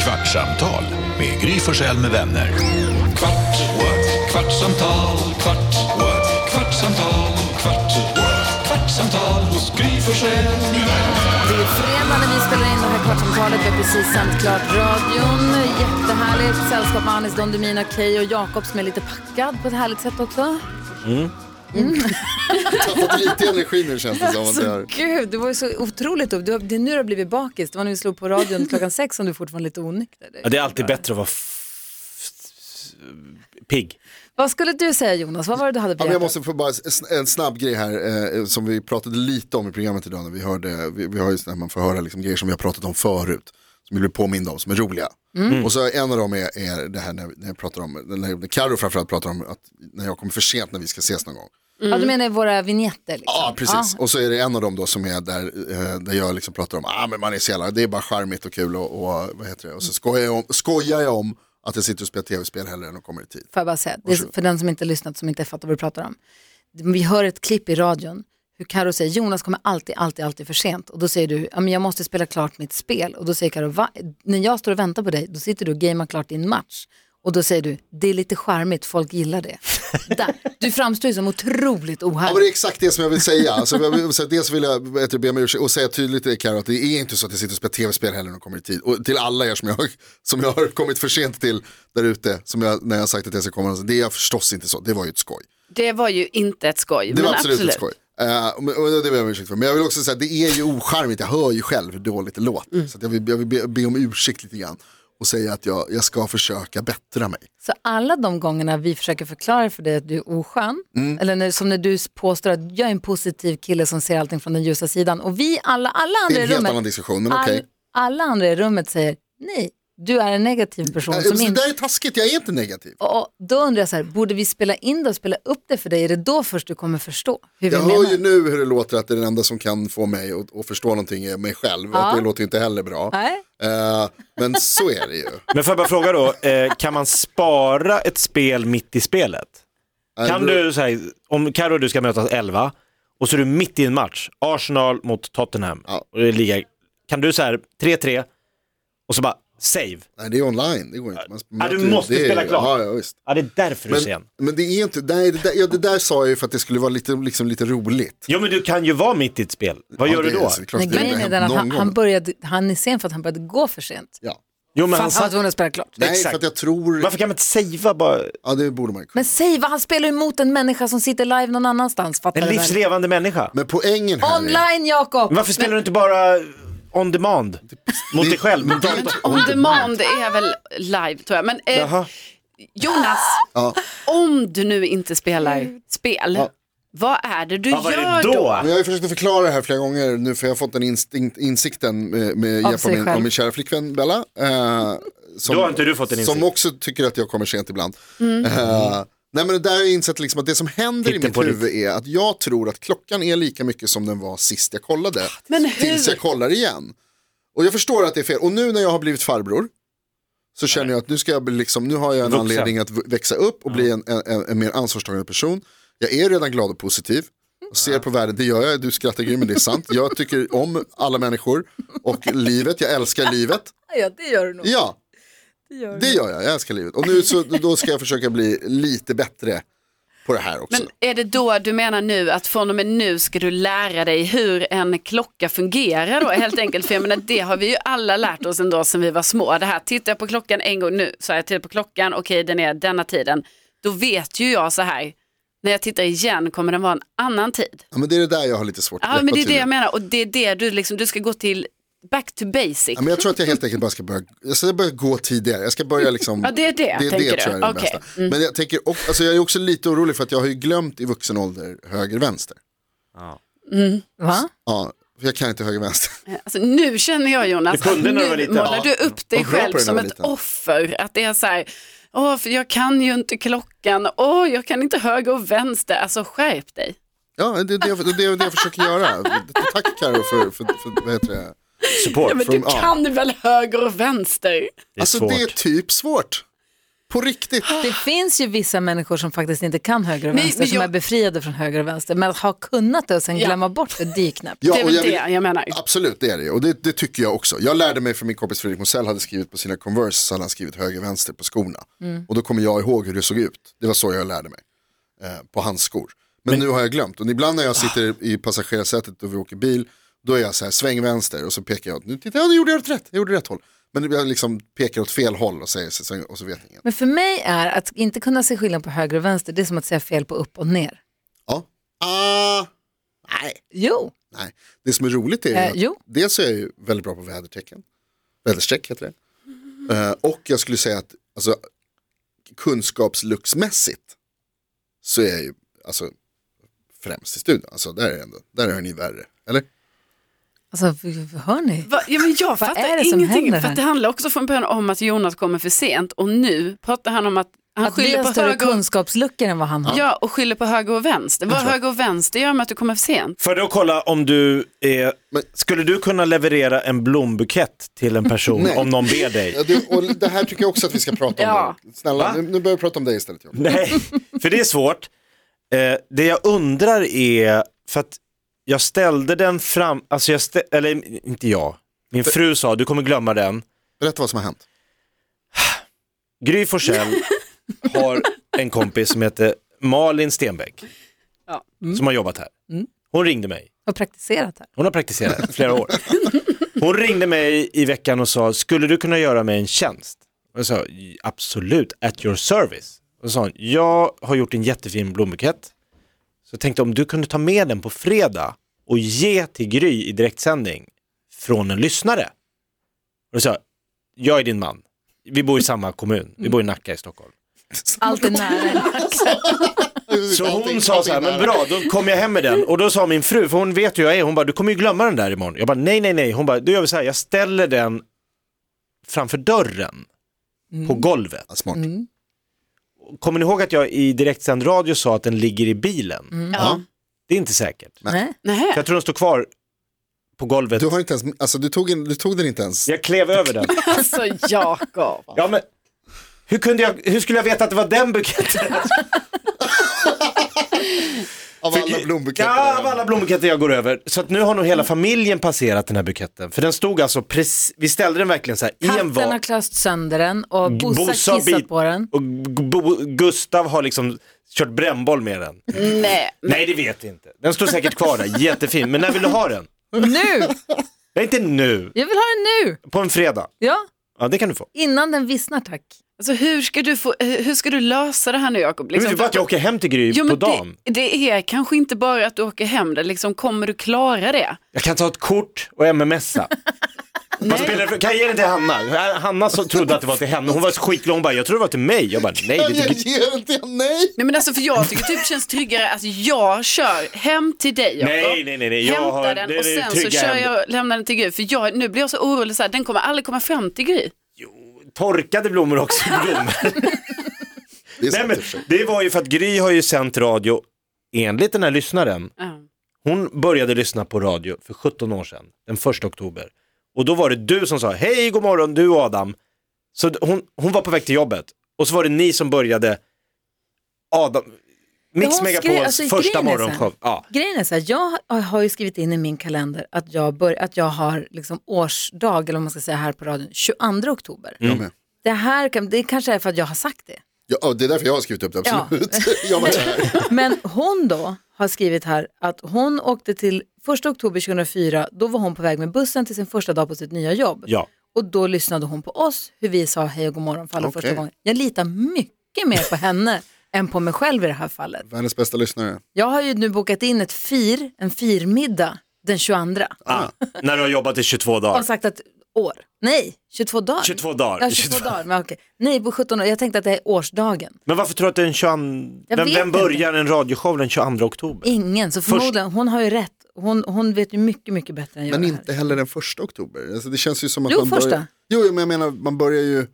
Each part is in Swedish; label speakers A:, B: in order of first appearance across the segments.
A: Kvartsamtal med Gry Forssell med vänner. Kvart, what? kvartsamtal, kvart, what? kvartsamtal, kvart, what? kvartsamtal hos Gry Forssell med vänner.
B: Det är fredag när vi spelar in det här kvartsamtalet. Vi har precis sänt klart radion. Jättehärligt sällskap med Anis Don Demina, Key och Jakob som är lite packad på ett härligt sätt också.
C: tappat lite energi nu känns det som. Att det
B: Så,
C: är.
B: gud, det var ju så otroligt. Du, har- det är nu du har blivit bakis. Det var när vi slog på radion klockan sex som du fortfarande är lite onykter.
D: Ja, det är alltid bättre att vara f- pigg.
B: Vad skulle du säga Jonas? Vad var det du hade på
C: Ja, men jag
B: hjärtat?
C: måste få bara s- en snabb grej här eh, som vi pratade lite om i programmet idag. När vi, hörde, vi, vi har ju när man får höra liksom grejer som vi har pratat om förut. Som vi blir påminna om, som är roliga. Och så en av dem är, är det här när, när jag pratar om, när, när Karo framförallt pratar om att när jag kommer för sent när vi ska ses någon gång.
B: Ja, du menar våra vignetter? Liksom.
C: Ja, precis. Och så är det en av dem då som är där, eh, där jag liksom pratar om, ah, men man är så jävla, det är bara charmigt och kul och, och vad heter det. Och så skojar jag om, skojar jag om att jag sitter och spelar tv-spel hellre än att komma i tid.
B: Får jag bara säga, det är för den som inte har lyssnat som inte fattar vad vi pratar om. Vi hör ett klipp i radion hur Karo säger Jonas kommer alltid, alltid, alltid för sent. Och då säger du, ja, men jag måste spela klart mitt spel. Och då säger Karo, Va? när jag står och väntar på dig, då sitter du och gamear klart din match. Och då säger du, det är lite charmigt, folk gillar det. Där. Du framstår ju som otroligt
C: Ja, men det
B: ohärlig.
C: är exakt det som jag vill säga. Alltså, jag vill, så att dels vill jag vet du, be om ursäkt och säga tydligt till Karo att det är inte så att jag sitter och spelar tv-spel heller när jag kommer i tid. Och till alla er som jag, som jag har kommit för sent till där ute, som jag, när jag har sagt att jag ska komma, alltså, det är förstås inte så, det var ju ett skoj.
E: Det var ju inte ett skoj.
C: Det
E: men
C: var absolut, ett skoj. Eh, men- och det ber jag om ursäkt för. Men jag vill också säga att det är ju ocharmigt, jag hör ju själv hur dåligt det låter.
B: Mm.
C: Så att jag vill, jag vill be, be om ursäkt lite grann och säga att jag, jag ska försöka bättra mig.
B: Så alla de gångerna vi försöker förklara för dig att du är oskön,
C: Mm.
B: eller när, som när du påstår att jag är en positiv kille som ser allting från den ljusa sidan. Och vi alla, alla
C: Det
B: andra
C: är
B: i
C: en helt
B: rummet,
C: annan diskussion, men
B: All,
C: okej.
B: Alla andra i rummet säger nej, du är en negativ person.
C: Eh,
B: som
C: så Det
B: inte...
C: där är taskigt, jag är inte negativ.
B: och, och då undrar jag så här, borde vi spela in det och spela upp det för dig? Är det då först du kommer förstå hur
C: Jag
B: vi
C: hör
B: menar?
C: ju nu hur det låter att det är den enda som kan få mig att, att förstå någonting är mig själv.
B: Ja.
C: Att det låter ju inte heller bra.
B: Nej.
C: Eh, men så är det ju.
D: Men får jag bara fråga då, eh, kan man spara ett spel mitt i spelet? Kan du, så här, om Karo och du ska mötas 11 och så är du mitt i en match, Arsenal mot Tottenham,
C: Ja.
D: och det är liga, kan du så här 3-3 och så bara save?
C: Nej, det är online, det går inte. Man
D: Ja, du
C: möter ju-
D: måste
C: det är,
D: spela klart.
C: Ja, ja, visst.
D: Ja, det är därför du är
C: Men,
D: sen.
C: men det är inte, nej, det, där, ja, det där sa jag ju för att det skulle vara lite, liksom, lite roligt.
D: Jo, men du kan ju vara mitt i ett spel. Vad
C: Ja,
D: gör
C: det
D: du då?
C: är- så det är klart
B: Men
C: att det
B: grejen
C: inte
B: är
C: har
B: den att
C: hänt
B: han,
C: någon
B: han,
C: gång.
B: började, han är sen för att han började gå för sent.
C: Ja.
D: Jo, men
B: För
D: han
B: att han var
D: satt...
B: tvungen att spela klart.
C: Nej,
D: Exakt.
C: för att jag tror,
D: Varför kan man inte savea bara?
C: ja det borde man ju kunna.
B: Men säg vad, han spelar ju emot en människa som sitter live någon annanstans. Fattar
D: En
B: du väl?
D: livslevande människa.
C: Men poängen här är,
B: Online Jakob!
D: Men Varför spelar du inte bara on demand mot dig själv? Mot datorn?
E: On demand är väl live tror jag. Men eh,
D: Jaha.
E: Jonas,
C: ja,
E: om du nu inte spelar spel, vad är det du
D: Ja, vad är
E: gör
D: det då?
C: men jag har ju försökt att förklara det här flera gånger nu för jag har fått den instinkt, insikten med, med
B: Av
C: hjälp av
B: sig
C: min,
B: själv.
C: av min kära flickvän Bella. eh, som,
D: Då har inte du fått en insikt.
C: Som också tycker att jag kommer sent ibland.
B: Mm.
C: Eh, nej men det där har jag insett liksom att det som händer
D: Titta
C: i mitt
D: på ditt-
C: huvud är att jag tror att klockan är lika mycket som den var sist jag kollade.
E: Men
C: Tills jag
E: hur?
C: kollar igen. Och jag förstår att det är fel. Och nu när jag har blivit farbror så känner jag att nu ska jag bli liksom, nu har jag en
D: Vuxen.
C: anledning att v- växa upp och bli en, en, en, en mer ansvarstagande person. Jag är redan glad och positiv. Och ser på världen, det gör jag, du skrattar grym men det är sant. Jag tycker om alla människor och livet, jag älskar livet.
B: Ja, det gör du nog.
C: Ja, det gör jag, jag älskar livet. Och nu så, då ska jag försöka bli lite bättre på det här också.
E: Men är det då du menar nu att från och med nu ska du lära dig hur en klocka fungerar då helt enkelt? För jag menar det har vi ju alla lärt oss ändå sedan vi var små. Det här, tittar jag på klockan en gång nu, så här, jag tittar på klockan, okej den är denna tiden. Då vet ju jag så här, när jag tittar igen kommer den vara en annan tid.
C: ja, men det är det där jag har lite svårt att
E: Ja,
C: greppa
E: men det är det
C: tydligen.
E: jag menar och det är det du liksom, du ska gå till back to basic.
C: Ja, men jag tror att jag helt enkelt bara ska börja, jag ska börja gå tidigare. Jag ska börja liksom,
E: Ja, det är det, tänker du.
C: tror jag är det
E: Okej. Mm.
C: bästa. Men jag, tänker, och- alltså, jag är också lite orolig för att jag har ju glömt i vuxen ålder höger-vänster.
B: Va?
C: Ja, för jag kan inte höger-vänster.
E: Alltså, nu känner jag Jonas,
D: Du kunde
E: att
D: när du var
E: nu
D: liten.
E: målar
D: Ja.
E: du upp dig
C: Jag var bra på
E: själv
C: det när
E: som
C: jag
E: ett
C: var liten.
E: offer. Att det är så här, åh, för jag kan ju inte klockan, åh, jag kan inte höger och vänster. Alltså skärp dig.
C: Ja, det är det, jag- det, är det jag försöker göra. Tack Carro för, för, för, vad heter det?
D: Support.
E: Men
C: Från-
E: du
C: ja.
E: kan väl höger och vänster?
D: Det är
C: Alltså
D: svårt.
C: det är typ svårt. På riktigt.
B: Det finns ju vissa människor som faktiskt inte kan höger och
E: Nej,
B: vänster,
E: men
B: som
E: jag-
B: är befriade från höger och vänster, men att ha kunnat det och sen
E: Ja.
B: glömma bort det, det är ju knäppt.
E: det är
C: och
E: väl
C: jag vill-
E: det jag menar.
C: Absolut, det är det. Och det, det tycker jag också. Jag lärde mig för min kompis Fredrik Mosell hade skrivit på sina Converse, så hade han skrivit höger-vänster på skorna. Och då kommer jag ihåg hur det såg ut. Det var så jag lärde mig. Eh, på hans skor. Men, nu har jag glömt. Och ibland när jag sitter i passagerarsätet och vi åker bil, då är jag så här, sväng vänster och så pekar jag åt, nu titta, ja, nu gjorde jag åt rätt, jag gjorde rätt håll. Men jag liksom pekar åt fel håll och säger, så- så- och så vet ingen.
B: Men för mig är att inte kunna se skillnad på höger och vänster, det är som att säga fel på upp och ner.
C: Ja. Ah, nej.
B: Jo,
C: Nej, det som är roligt är ju
B: Eh,
C: att
B: jo.
C: dels är jag ju väldigt bra på vädertecken. Väderstreck heter det. Eh, och jag skulle säga att alltså, kunskapslucksmässigt så är jag ju alltså, främst i studion. Alltså, där, är jag ändå, där är ni värre, eller?
B: alltså hör ni?
E: Va, ja, men jag
B: är
E: fattar
B: det som
E: ingenting.
B: händer
E: För
B: här?
E: att det handlar också från början om att Jonas kommer för sent och nu pratar han om att han
B: Att vi
E: skyller
B: har
E: på
B: större
E: höger och,
B: kunskapsluckor än vad han har.
E: ja, och skyller på höger och vänster. Vad höger och vänster gör med att du kommer för sent?
D: För då kolla om du är,
C: Men-
D: skulle du kunna leverera en blombukett till en person
C: Nej.
D: om någon ber
C: Ja,
D: dig?
C: det, och det här tycker jag också att vi ska prata om.
E: Ja.
C: nu. Snälla,
D: Va?
C: nu, nu börjar vi prata om dig istället. John.
D: Nej, för det är svårt. Eh, det jag undrar är, för att jag ställde den fram, alltså jag stä, eller inte jag, min fru sa du kommer glömma den.
C: Berätta vad som har hänt.
D: Gry Forssell har en kompis som heter Malin Stenbeck.
E: Ja.
D: Som har jobbat här. Hon ringde mig.
B: Och praktiserat här.
D: Hon har praktiserat i flera år. Hon ringde mig i veckan och sa, skulle du kunna göra mig en tjänst? Och jag sa, absolut, at your service. Och så sa hon, jag har gjort en jättefin blombukett. Så jag tänkte om du kunde ta med den på fredag och ge till Gry i direktsändning från en lyssnare. Och då sa jag, jag är din man. Vi bor i samma kommun, vi bor i Nacka i Stockholm.
B: Allt är nära.
D: Så
C: Allting-
D: hon sa så här,
C: allting
D: men
C: där.
D: bra, då kom jag hem med den. Och då sa min fru, för hon vet hur jag är, hon bara, du kommer ju glömma den där imorgon. Jag bara, nej, nej, nej. Hon bara, då gör vi så här, jag ställer den framför dörren
C: Mm.
D: på golvet.
C: Ja, smart.
B: Mm.
D: Kommer ni ihåg att jag i direktsänd radio sa att den ligger i bilen?
C: Mm.
E: Ja.
D: Det är inte säkert.
B: Nej.
E: Nej.
D: För jag tror den står kvar på golvet.
C: Du, har inte ens, alltså, du, tog en, du tog den inte ens.
D: Jag klev över den.
E: Alltså Jakob.
D: Ja, men hur, kunde jag, hur skulle jag veta att det var den buketten?
C: Av alla blombuketter. Mm.
D: Ja, av alla blombuketter jag går över. Så att nu har nog hela familjen passerat den här buketten. För den stod alltså, precis, vi ställde den verkligen så här i en
B: Katten har
D: var.
B: klöst sönder den och Bosse har
D: Bosse har
B: kissat
D: bit-
B: på den.
D: Och G- Bo, Gustav har liksom kört brännboll med den.
C: Mm.
E: Nej.
D: Nej, det vet jag inte. Den står säkert kvar där, jättefin. Men när vill du ha den?
B: Nu!
D: Nej, inte nu.
B: Jag vill ha den nu!
D: På en fredag.
B: Ja,
D: Ja, det kan du få.
B: innan den vissnar tack.
E: Alltså, hur, ska du få, hur hur ska du lösa det här nu Jakob?
D: Men det är bara att jag åker hem till Gry
E: Liksom Jo,
D: på
E: men
D: dagen.
E: det, det är kanske inte bara att du åker hem där, liksom, kommer du klara det?
D: Jag kan ta ett kort och mmsa. Man spelar, kan jag ge den till Hanna? Hanna så trodde att det var till henne. Hon var så skitlång hon bara, jag tror det var till mig. Jag bara, nej det är till
C: Jag
D: Gry.
C: ger den till nej.
E: Nej men alltså för jag tycker typ det känns tryggare att jag kör hem till dig Jakob.
D: Nej, nej, nej, nej. Jag
E: Hämtar
D: har-
E: den
D: det-
E: och
D: det är
E: sen
D: trygga
E: så kör
D: händer.
E: jag, lämnar den till Gry. För jag, nu blir jag så orolig så här, den kommer aldrig komma fram till Gry.
D: torkade blommor också blommor.
C: Det är sant
D: Nej,
C: i
D: men
C: och för sig.
D: det var ju för att Gry har ju sänt radio, enligt den här lyssnaren,
E: Ja.
D: hon började lyssna på radio för 17 år sedan, den 1 oktober. Och då var det du som sa, hej god morgon, du Adam. Så d- hon, hon var på väg till jobbet och så var det ni som började, Adam, Mix
B: hon skrev-
D: Megapols
B: alltså,
D: första
B: grejen är så här-
D: morgonshow. Ja.
B: Grejen är så här, jag har- har ju skrivit in i min kalender att jag, bör, att jag har liksom årsdag, eller vad man ska säga här på radion, 22 oktober.
D: Mm.
C: Jag med.
B: Det här kan, det kanske är för att jag har sagt det.
C: Ja, och det är därför jag har skrivit upp det, absolut. jag var där.
B: Men hon då har skrivit här att hon åkte till 1 oktober 2004, då var hon på väg med bussen till sin första dag på sitt nya jobb.
D: ja.
B: Och då lyssnade hon på oss, hur vi sa hej och god morgon för allra
C: Okej.
B: första gången. Jag litar mycket mer på henne än på mig själv i det här fallet.
C: Världens bästa lyssnare.
B: Jag har ju nu bokat in ett fir, en firmiddag den 22
D: Ah, när du har jobbat i 22 dagar.
B: och sagt att år, nej, 22 dagar.
D: 22 dagar.
B: Ja, 22 dagar, men okej. Nej, på 17 år. Jag tänkte att det är årsdagen.
D: Men varför tror du att den 22...
B: Jag
D: Vem,
B: vet
D: vem
B: inte.
D: börjar en radioshow den 22 oktober?
B: Ingen, så förmodligen, hon har ju rätt. Hon, hon vet ju mycket, mycket bättre än jag.
C: Men
B: det här.
C: inte heller den första oktober. Alltså, det känns ju som att
B: Jo,
C: man börjar...
B: första.
C: Jo, men jag menar, man börjar ju...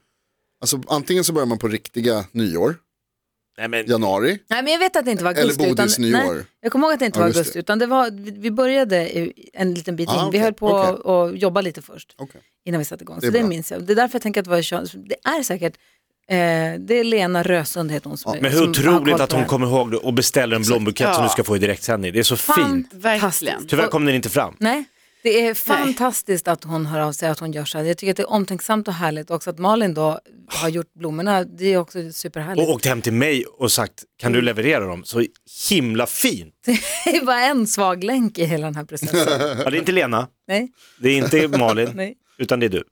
C: Alltså, antingen så börjar man på riktiga nyår,
D: Nej, men,
C: januari.
B: Nej, men jag vet att det inte var
C: Eller
B: augusti.
C: Bodils
B: utan,
C: nyår.
B: nej, jag kommer ihåg att det inte var
C: Augusti.
B: augusti, utan det var, vi- vi började i- en liten bit
C: Ah,
B: in. Vi
C: okej,
B: höll på
C: okej.
B: att och jobba lite först
C: Okej.
B: innan vi satte igång,
C: Det
B: det
C: är
B: så det
C: bra.
B: minns jag. Det är därför jag tänker att det, var, tjugo- det är säkert Eh, det är Lena Rösund heter hon. Som,
D: Men
B: som
D: hur
B: har koll
D: otroligt
B: på
D: att
B: det
D: hon
B: här.
D: kommer ihåg det och beställer en blombukett som du
E: Ja.
D: ska få i direktsändning. Det är så fint.
E: Verkligen.
D: Tyvärr kom den inte fram.
B: Nej, det är fantastiskt att hon hör av sig, att hon gör så här. Jag tycker att det är omtänksamt och härligt också att Malin då har gjort blommorna. Det är också superhärligt.
D: Och åkt hem till mig och sagt, kan
B: Mm.
D: du leverera dem? Så himla fint.
B: Det är bara en svag länk i hela den här processen.
D: Ja, det är inte Lena,
B: Nej,
D: det är inte Malin,
B: nej.
D: utan det är du.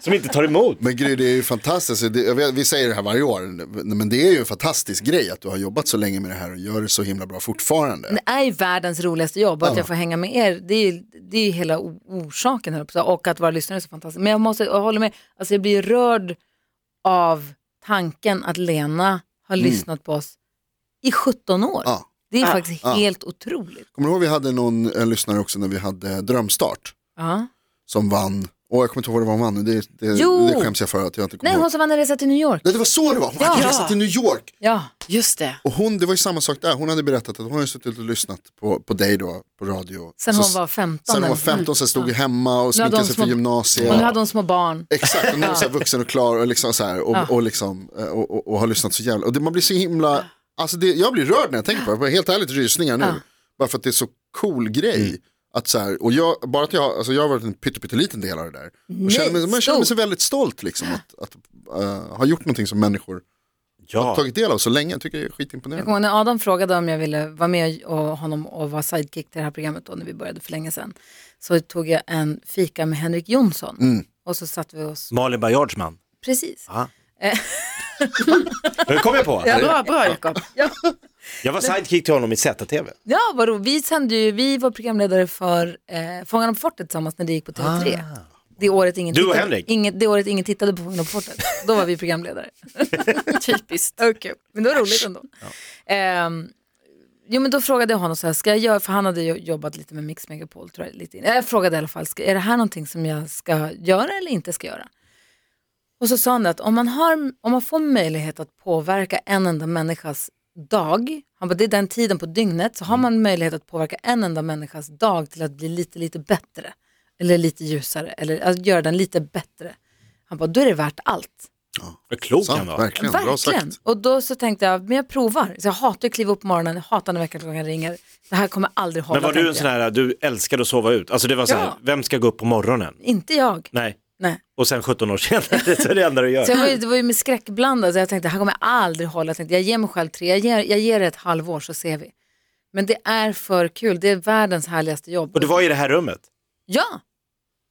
D: som inte tar emot.
C: Men Gry, det är ju fantastiskt. Alltså, Det, jag vet, vi säger det här varje år, men det är ju en fantastisk grej att du har jobbat så länge med det här och gör det så himla bra fortfarande.
B: Det är ju världens roligaste jobb och att jag får hänga med er, det är ju, det är ju hela o- orsaken. höll jag på att säga. Och att våra lyssnare är så fantastiska. Men jag måste, jag håller med, alltså jag blir rörd av tanken att Lena har lyssnat på oss i 17 år.
C: Mm. Ja.
B: Det är
E: Ja.
B: faktiskt
C: Ja.
B: helt otroligt.
C: Kommer du ihåg vi hade någon en lyssnare också när vi hade Drömstart
B: Ja.
C: som vann, och jag kommer inte ihåg vad hon vann nu, det, det,
B: Jo!
C: det skäms jag för att jag inte kommer
B: Nej,
C: ihåg.
B: hon som vann en resa till New York.
C: Nej, det var så det var, hon
B: Ja.
C: hade resa till New York.
B: Ja.
E: Just det.
C: Och hon, det var ju samma sak där, hon hade berättat att hon hade suttit och lyssnat på, på dig då på radio.
B: Sen
C: Så-
B: hon var 15.
C: Sen hon var
B: eller-
C: 15, sen stod vi hemma och
B: Nu hade
C: sminkade
B: hon
C: sig
B: små-
C: för gymnasiet.
B: Och nu hade hon små barn.
C: Exakt, och nu är hon så här vuxen och klar och, liksom så här, och,
B: Ja.
C: och, liksom, eh, och, och, och har lyssnat så jävla, och det, man blir så himla, alltså det, jag blir rörd när jag tänker på det, Jag får helt ärligt rysningar nu.
B: Ja.
C: Bara för att det är så cool grej. Att så här, och jag, bara att jag, alltså jag har varit en pytte- pytteliten del av det där. Och känner mig, man känner mig så
B: stort.
C: väldigt stolt liksom, att, att eh, ha gjort någonting som människor har
D: Ja,
C: tagit del av så länge. Jag tycker det är
B: Jag
C: skitimponerande.
B: kommer ihåg när Adam frågade om jag ville vara med och honom och vara sidekick till det här programmet då när vi började för länge sedan. Så tog jag en fika med Henrik Jonsson och så satte vi oss,
D: Malin Baryards man. Ah.
B: precis.
D: Nu kom jag på.
E: Bra, bra Jakob.
D: Jag var sidekick till honom i ZTV.
B: Ja, vad roligt. Vi, sände ju, vi var programledare för eh, Fångarna på fortet tillsammans när det gick på TV3. Det året ingen
D: Du och
B: tittade,
D: Henrik?
B: Ingen, det året ingen tittade på Fångarna på fortet. Då var vi programledare.
E: Typiskt.
B: Okay. Men det var roligt ändå. Ehm, jo men då frågade jag honom så här, ska jag göra, för han hade ju jobbat lite med Mix Megapol tror jag. Lite in. Jag frågade i alla fall, ska, är det här någonting som jag ska göra eller inte ska göra? Och så sa han att om man, har, om man får möjlighet att påverka en enda människas dag, han bara, det är den tiden på dygnet, så har man möjlighet att påverka en enda människas dag till att bli lite, lite bättre. Eller lite ljusare, eller att göra den lite bättre. Han bara, då är det värt allt.
D: Vad klok han
C: Sant,
D: var.
C: verkligen, bra
B: Verkligen.
C: sagt.
B: Och då så tänkte jag, men jag provar. Så jag hatar att kliva upp på morgonen, jag hatar när väckarklockan ringer. Det här kommer aldrig hålla.
D: Men var du en
B: tänkte
D: sån här, du älskade att sova ut? Alltså det var så här,
B: Ja.
D: vem ska gå upp på morgonen?
B: jag. Inte jag.
D: Nej.
B: Nej.
D: Och sen 17 år senare så är det enda du gör.
B: Så jag var ju, det var ju med skräckblandad, så jag tänkte det här kommer jag aldrig hålla. Jag, tänkte, jag ger mig själv tre, jag ger, jag ger det ett halvår så ser vi. Men det är för kul, det är världens härligaste jobb.
D: Och det var i det här rummet,
B: Ja,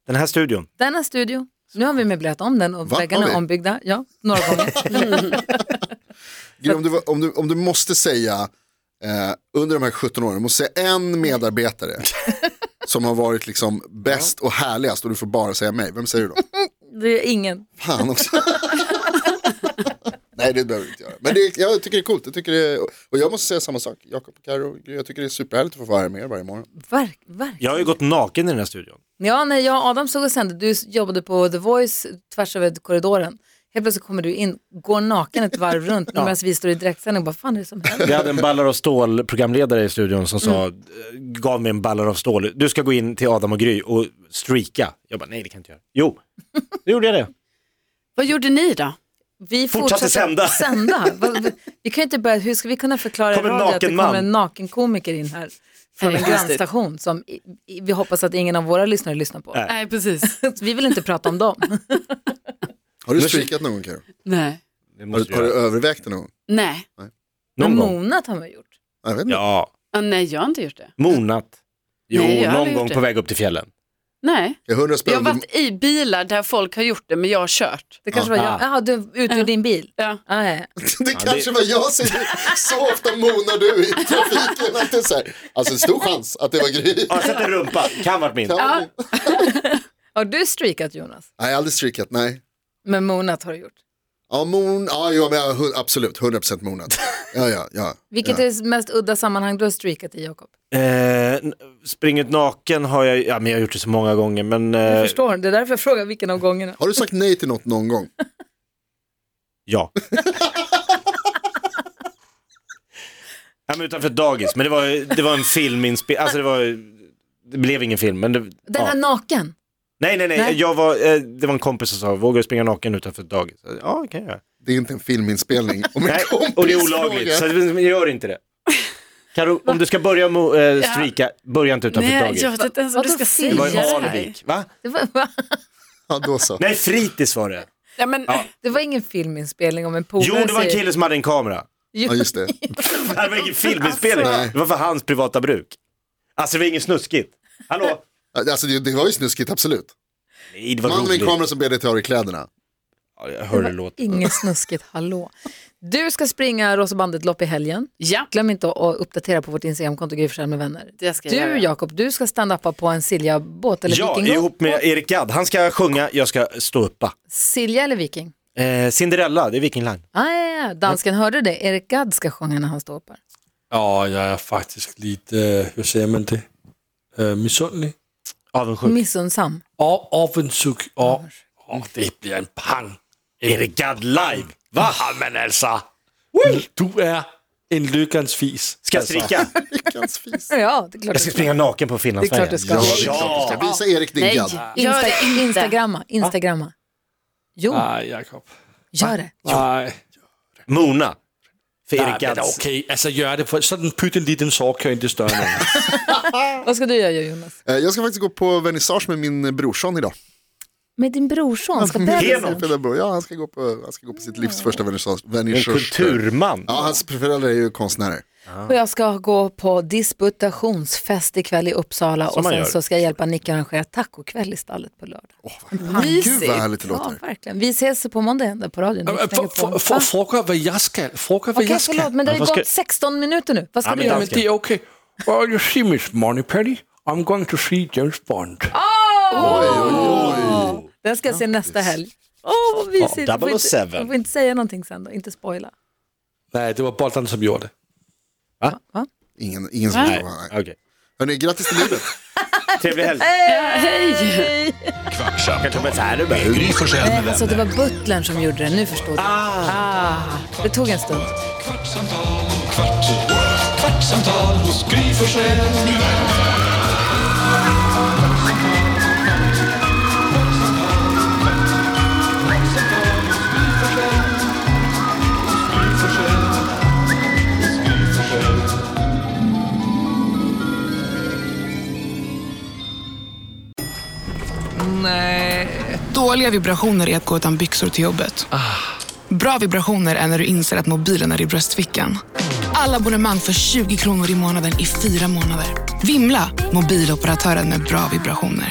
D: den här studion.
B: denna studio. Nu har vi möblerat om den och
C: Va?
B: väggarna
C: Har
B: är
C: vi?
B: ombyggda. Ja, några gånger.
C: Gry, om, du, var- om, du, om du måste säga eh, under de här 17 åren, du måste säga en medarbetare som har varit liksom bäst och härligast och du får bara säga mig, vem säger du då?
B: Det är ingen.
C: Fan också. Nej det behöver du inte göra. Men det, är- jag tycker det är coolt, jag tycker det, är- och jag måste säga samma sak, Jakob och Karo, jag tycker det är superhärligt att få vara här med er varje morgon.
B: Verk, verk.
D: Jag har ju gått naken i den här studion.
B: Ja, när jag och Adam såg och sände, du jobbade på The Voice tvärs över korridoren. Helt plötsligt kommer du in, går naken ett varv runt medan vi står i direktsändning och bara, fan är det som händer?
D: Vi hade en Ballar av stål-programledare i studion som sa,
E: Mm.
D: eh, gav mig en Ballar av stål, du ska gå in till Adam och Gry och streaka. Jag bara, nej det kan jag inte göra. Jo, då gjorde jag det.
E: Vad gjorde ni då?
B: Vi
D: Fortsatte sända.
B: sända. Va- va- Vi kan ju inte börja, hur ska vi kunna förklara i
D: Kommer en
B: radio att det
D: naken
B: kommer
D: man.
B: en naken komiker in här från en
E: Nej,
B: grannstation som i, i, vi hoppas att ingen av våra lyssnare lyssnar på.
D: Nej.
E: Nej, precis.
B: Vi vill inte prata om dem.
C: Har du streakat någon gång Karo?
E: Nej.
D: det
C: Har,
D: måste
C: du- har
D: jag
C: du
D: göra.
C: övervägt det någon gång?
E: Nej.
B: Men
D: Någon gång.
B: Monat har man gjort.
C: Jag vet inte.
D: Ja,
E: Ja, nej, jag har inte gjort det.
D: monat. Jo,
E: Nej, jag har
D: någon
E: aldrig gjort
D: gång
E: det.
D: på väg upp till fjällen.
E: Nej.
C: Jag har hundra
E: Jag har
C: spänn,
E: varit i bilar där folk har gjort det, men jag har kört.
B: Det kanske var
D: Ah.
B: jag. Jaha, du ut ur din bil.
E: Ja.
B: Ah, ja, ja.
C: det kanske var jag som så ofta monar du i trafiken. Att det är så här. Alltså en stor chans att det var Gry.
D: Ja, sett en rumpa, kan varit min.
C: Ja.
B: Har du streakat Jonas?
C: Nej, aldrig streakat, nej.
B: Men Monat har du gjort.
C: Ja, mon, ja, ja men, jag- hu- absolut, 100% monad. Ja, ja, ja.
B: Vilket
C: ja.
B: är det mest udda sammanhang du har streakat i Jakob?
D: Eh, n- spring ut naken har jag, ja men jag har gjort det så många gånger men
B: Jag
D: eh,
B: förstår, det är därför jag frågar vilken av gångerna.
C: Har du sagt nej till något någon gång?
D: ja. ja men utanför dagis, men det var, det var en filminspelning, alltså det var, det blev ingen film men det,
B: Den här
D: ja.
B: naken,
D: Nej, nej, nej.
B: Nej.
D: Jag var, eh, det var en kompis som sa, vågar du springa naken utanför dagis? Ja, det kan jag göra.
C: Det är inte en filminspelning. Oh Om en
D: Nej,
C: kompis
D: och det är olagligt, så
C: frågar.
D: det- gör inte det. Karo, om du ska börja mo- eh, streaka, börja inte utanför
E: Nej,
D: dagis.
E: jag vet inte ens vad du
B: Vadå
E: ska
B: fri?
E: säga.
D: Det var i
B: jag-
D: Hanevik, va?
B: Det var, va?
C: Ja, då så.
D: Nej, fritids var det.
E: Ja, men,
B: det var ingen filminspelning om en polare
D: Jo, det var en
B: säger-
D: kille som hade en kamera.
C: Ja, just det.
D: Det här var ingen filminspelning,
C: Alltså.
D: det var för hans privata bruk. Alltså det var inget snuskigt. Hallå?
C: Alltså, det, det var ju snuskigt, absolut.
D: Nej, det var
C: Man med en
D: roligt.
C: kamera som ber dig ta av dig kläderna.
D: Ja, Jag hörde låten.
B: Inget snuskigt, hallå. Du ska springa Rosa Bandet-lopp i helgen.
E: ja,
B: Glöm inte att uppdatera på vårt Instagramkonto Gry Forssell med vänner.
E: det ska jag
B: Du
E: göra.
B: Jakob, du ska stand uppa på en Silja-båt eller
D: Ja,
B: vikingbåt.
D: ihop med Erik Gadd. Han ska sjunga, jag ska stå uppa.
B: Silja eller viking?
D: Eh, Cinderella, det är Viking Line.
B: Ah, ja, ja. Dansken, hörde du det? Erik Gadd ska sjunga när han står på.
F: Ja, jeg er faktisk lidt, øh, hvad siger man det, øh, misundelig.
B: Mm.
D: Avundsjuk.
B: Missunnsam.
F: Og offensug, og åh, det bliver en pang.
D: Erik Gadd live.
F: Hvad har man altså? Du er en lykkens fis.
D: Ska jag stricka?
C: Veckans fis.
B: Ja, det är klart
D: Jag ska springa naken på
B: Det är klart
D: Finlandsfärjan.
B: du ska.
C: Ja, det är klart du ska. Visa Erik din
E: Nej,
C: gadd.
E: gör
B: Insta-
E: det inte.
B: Instagramma, Instagramma. Jo,
D: Ah.
F: Nej, Jacob.
B: gör det.
F: Nej.
D: Mona. För
F: Nej,
D: Erik
F: men
D: Gadds.
F: okay, altså gør det, for sådan en pytte lille den sår kan ikke større end.
B: Vad ska du göra Jonas?
C: Eh, Jag ska faktiskt gå på vernissage med min brorson idag.
B: Med din brorson, ska
C: Mm.
D: Heno.
B: bebisen.
C: Pedagog. Ja, han ska gå på, han ska gå på sitt livs första vernissage.
D: En
C: vernissage.
D: kulturman.
C: Ja, hans föräldrar är ju konstnärer.
B: Och jag ska gå på disputationsfest ikväll i Uppsala
D: Som
B: och
D: man
B: sen
D: gör.
B: så ska jag hjälpa Nick arrangera tacokväll i stallet på lördag.
C: Gud vad härligt det låter.
B: Ja, verkligen. Vi ses på måndag igen på radion. Mix
F: Øh, For, for,
B: Megapol.
F: for,
B: Va?
F: foregår, hvad jeg skal. Foregår, hvad
B: Okej,
F: jeg skal.
B: förlåt, men det har ju
D: Vad ska-
B: gått 16 minuter nu. Vad ska
D: Ja,
B: du
D: men
B: göra?
F: Jamen, det er okay. Well, you see, Miss Money Penny, I'm going to see James Bond.
B: Den ska jag se nästa helg. Åh, vad mysigt.
D: Ja,
B: Jag får inte-
D: 007.
B: Jag får inte säga någonting sen då, inte spoila.
F: Nej, det var Bolton, som gjorde det.
C: Ingen, ingen som förstår. vad han är.
D: Okej.
C: Hörni, grattis till livet.
D: Trevlig helg.
A: Kvartsamtal
D: Här är det
A: med Gry Forssell med
B: Alltså det
A: vänner.
B: var butlern som gjorde det, nu förstår du. Ah. Det tog en stund.
A: Kvartsamtal, kvart, kvartsamtal hos Gry Forssell med vänner.
G: Dåliga vibrationer är att gå utan byxor till jobbet. Bra vibrationer är när du inser att mobilen är i bröstfickan. Alla abonnemang för 20 kronor i månaden i fyra månader. Vimla! Mobiloperatören med bra vibrationer.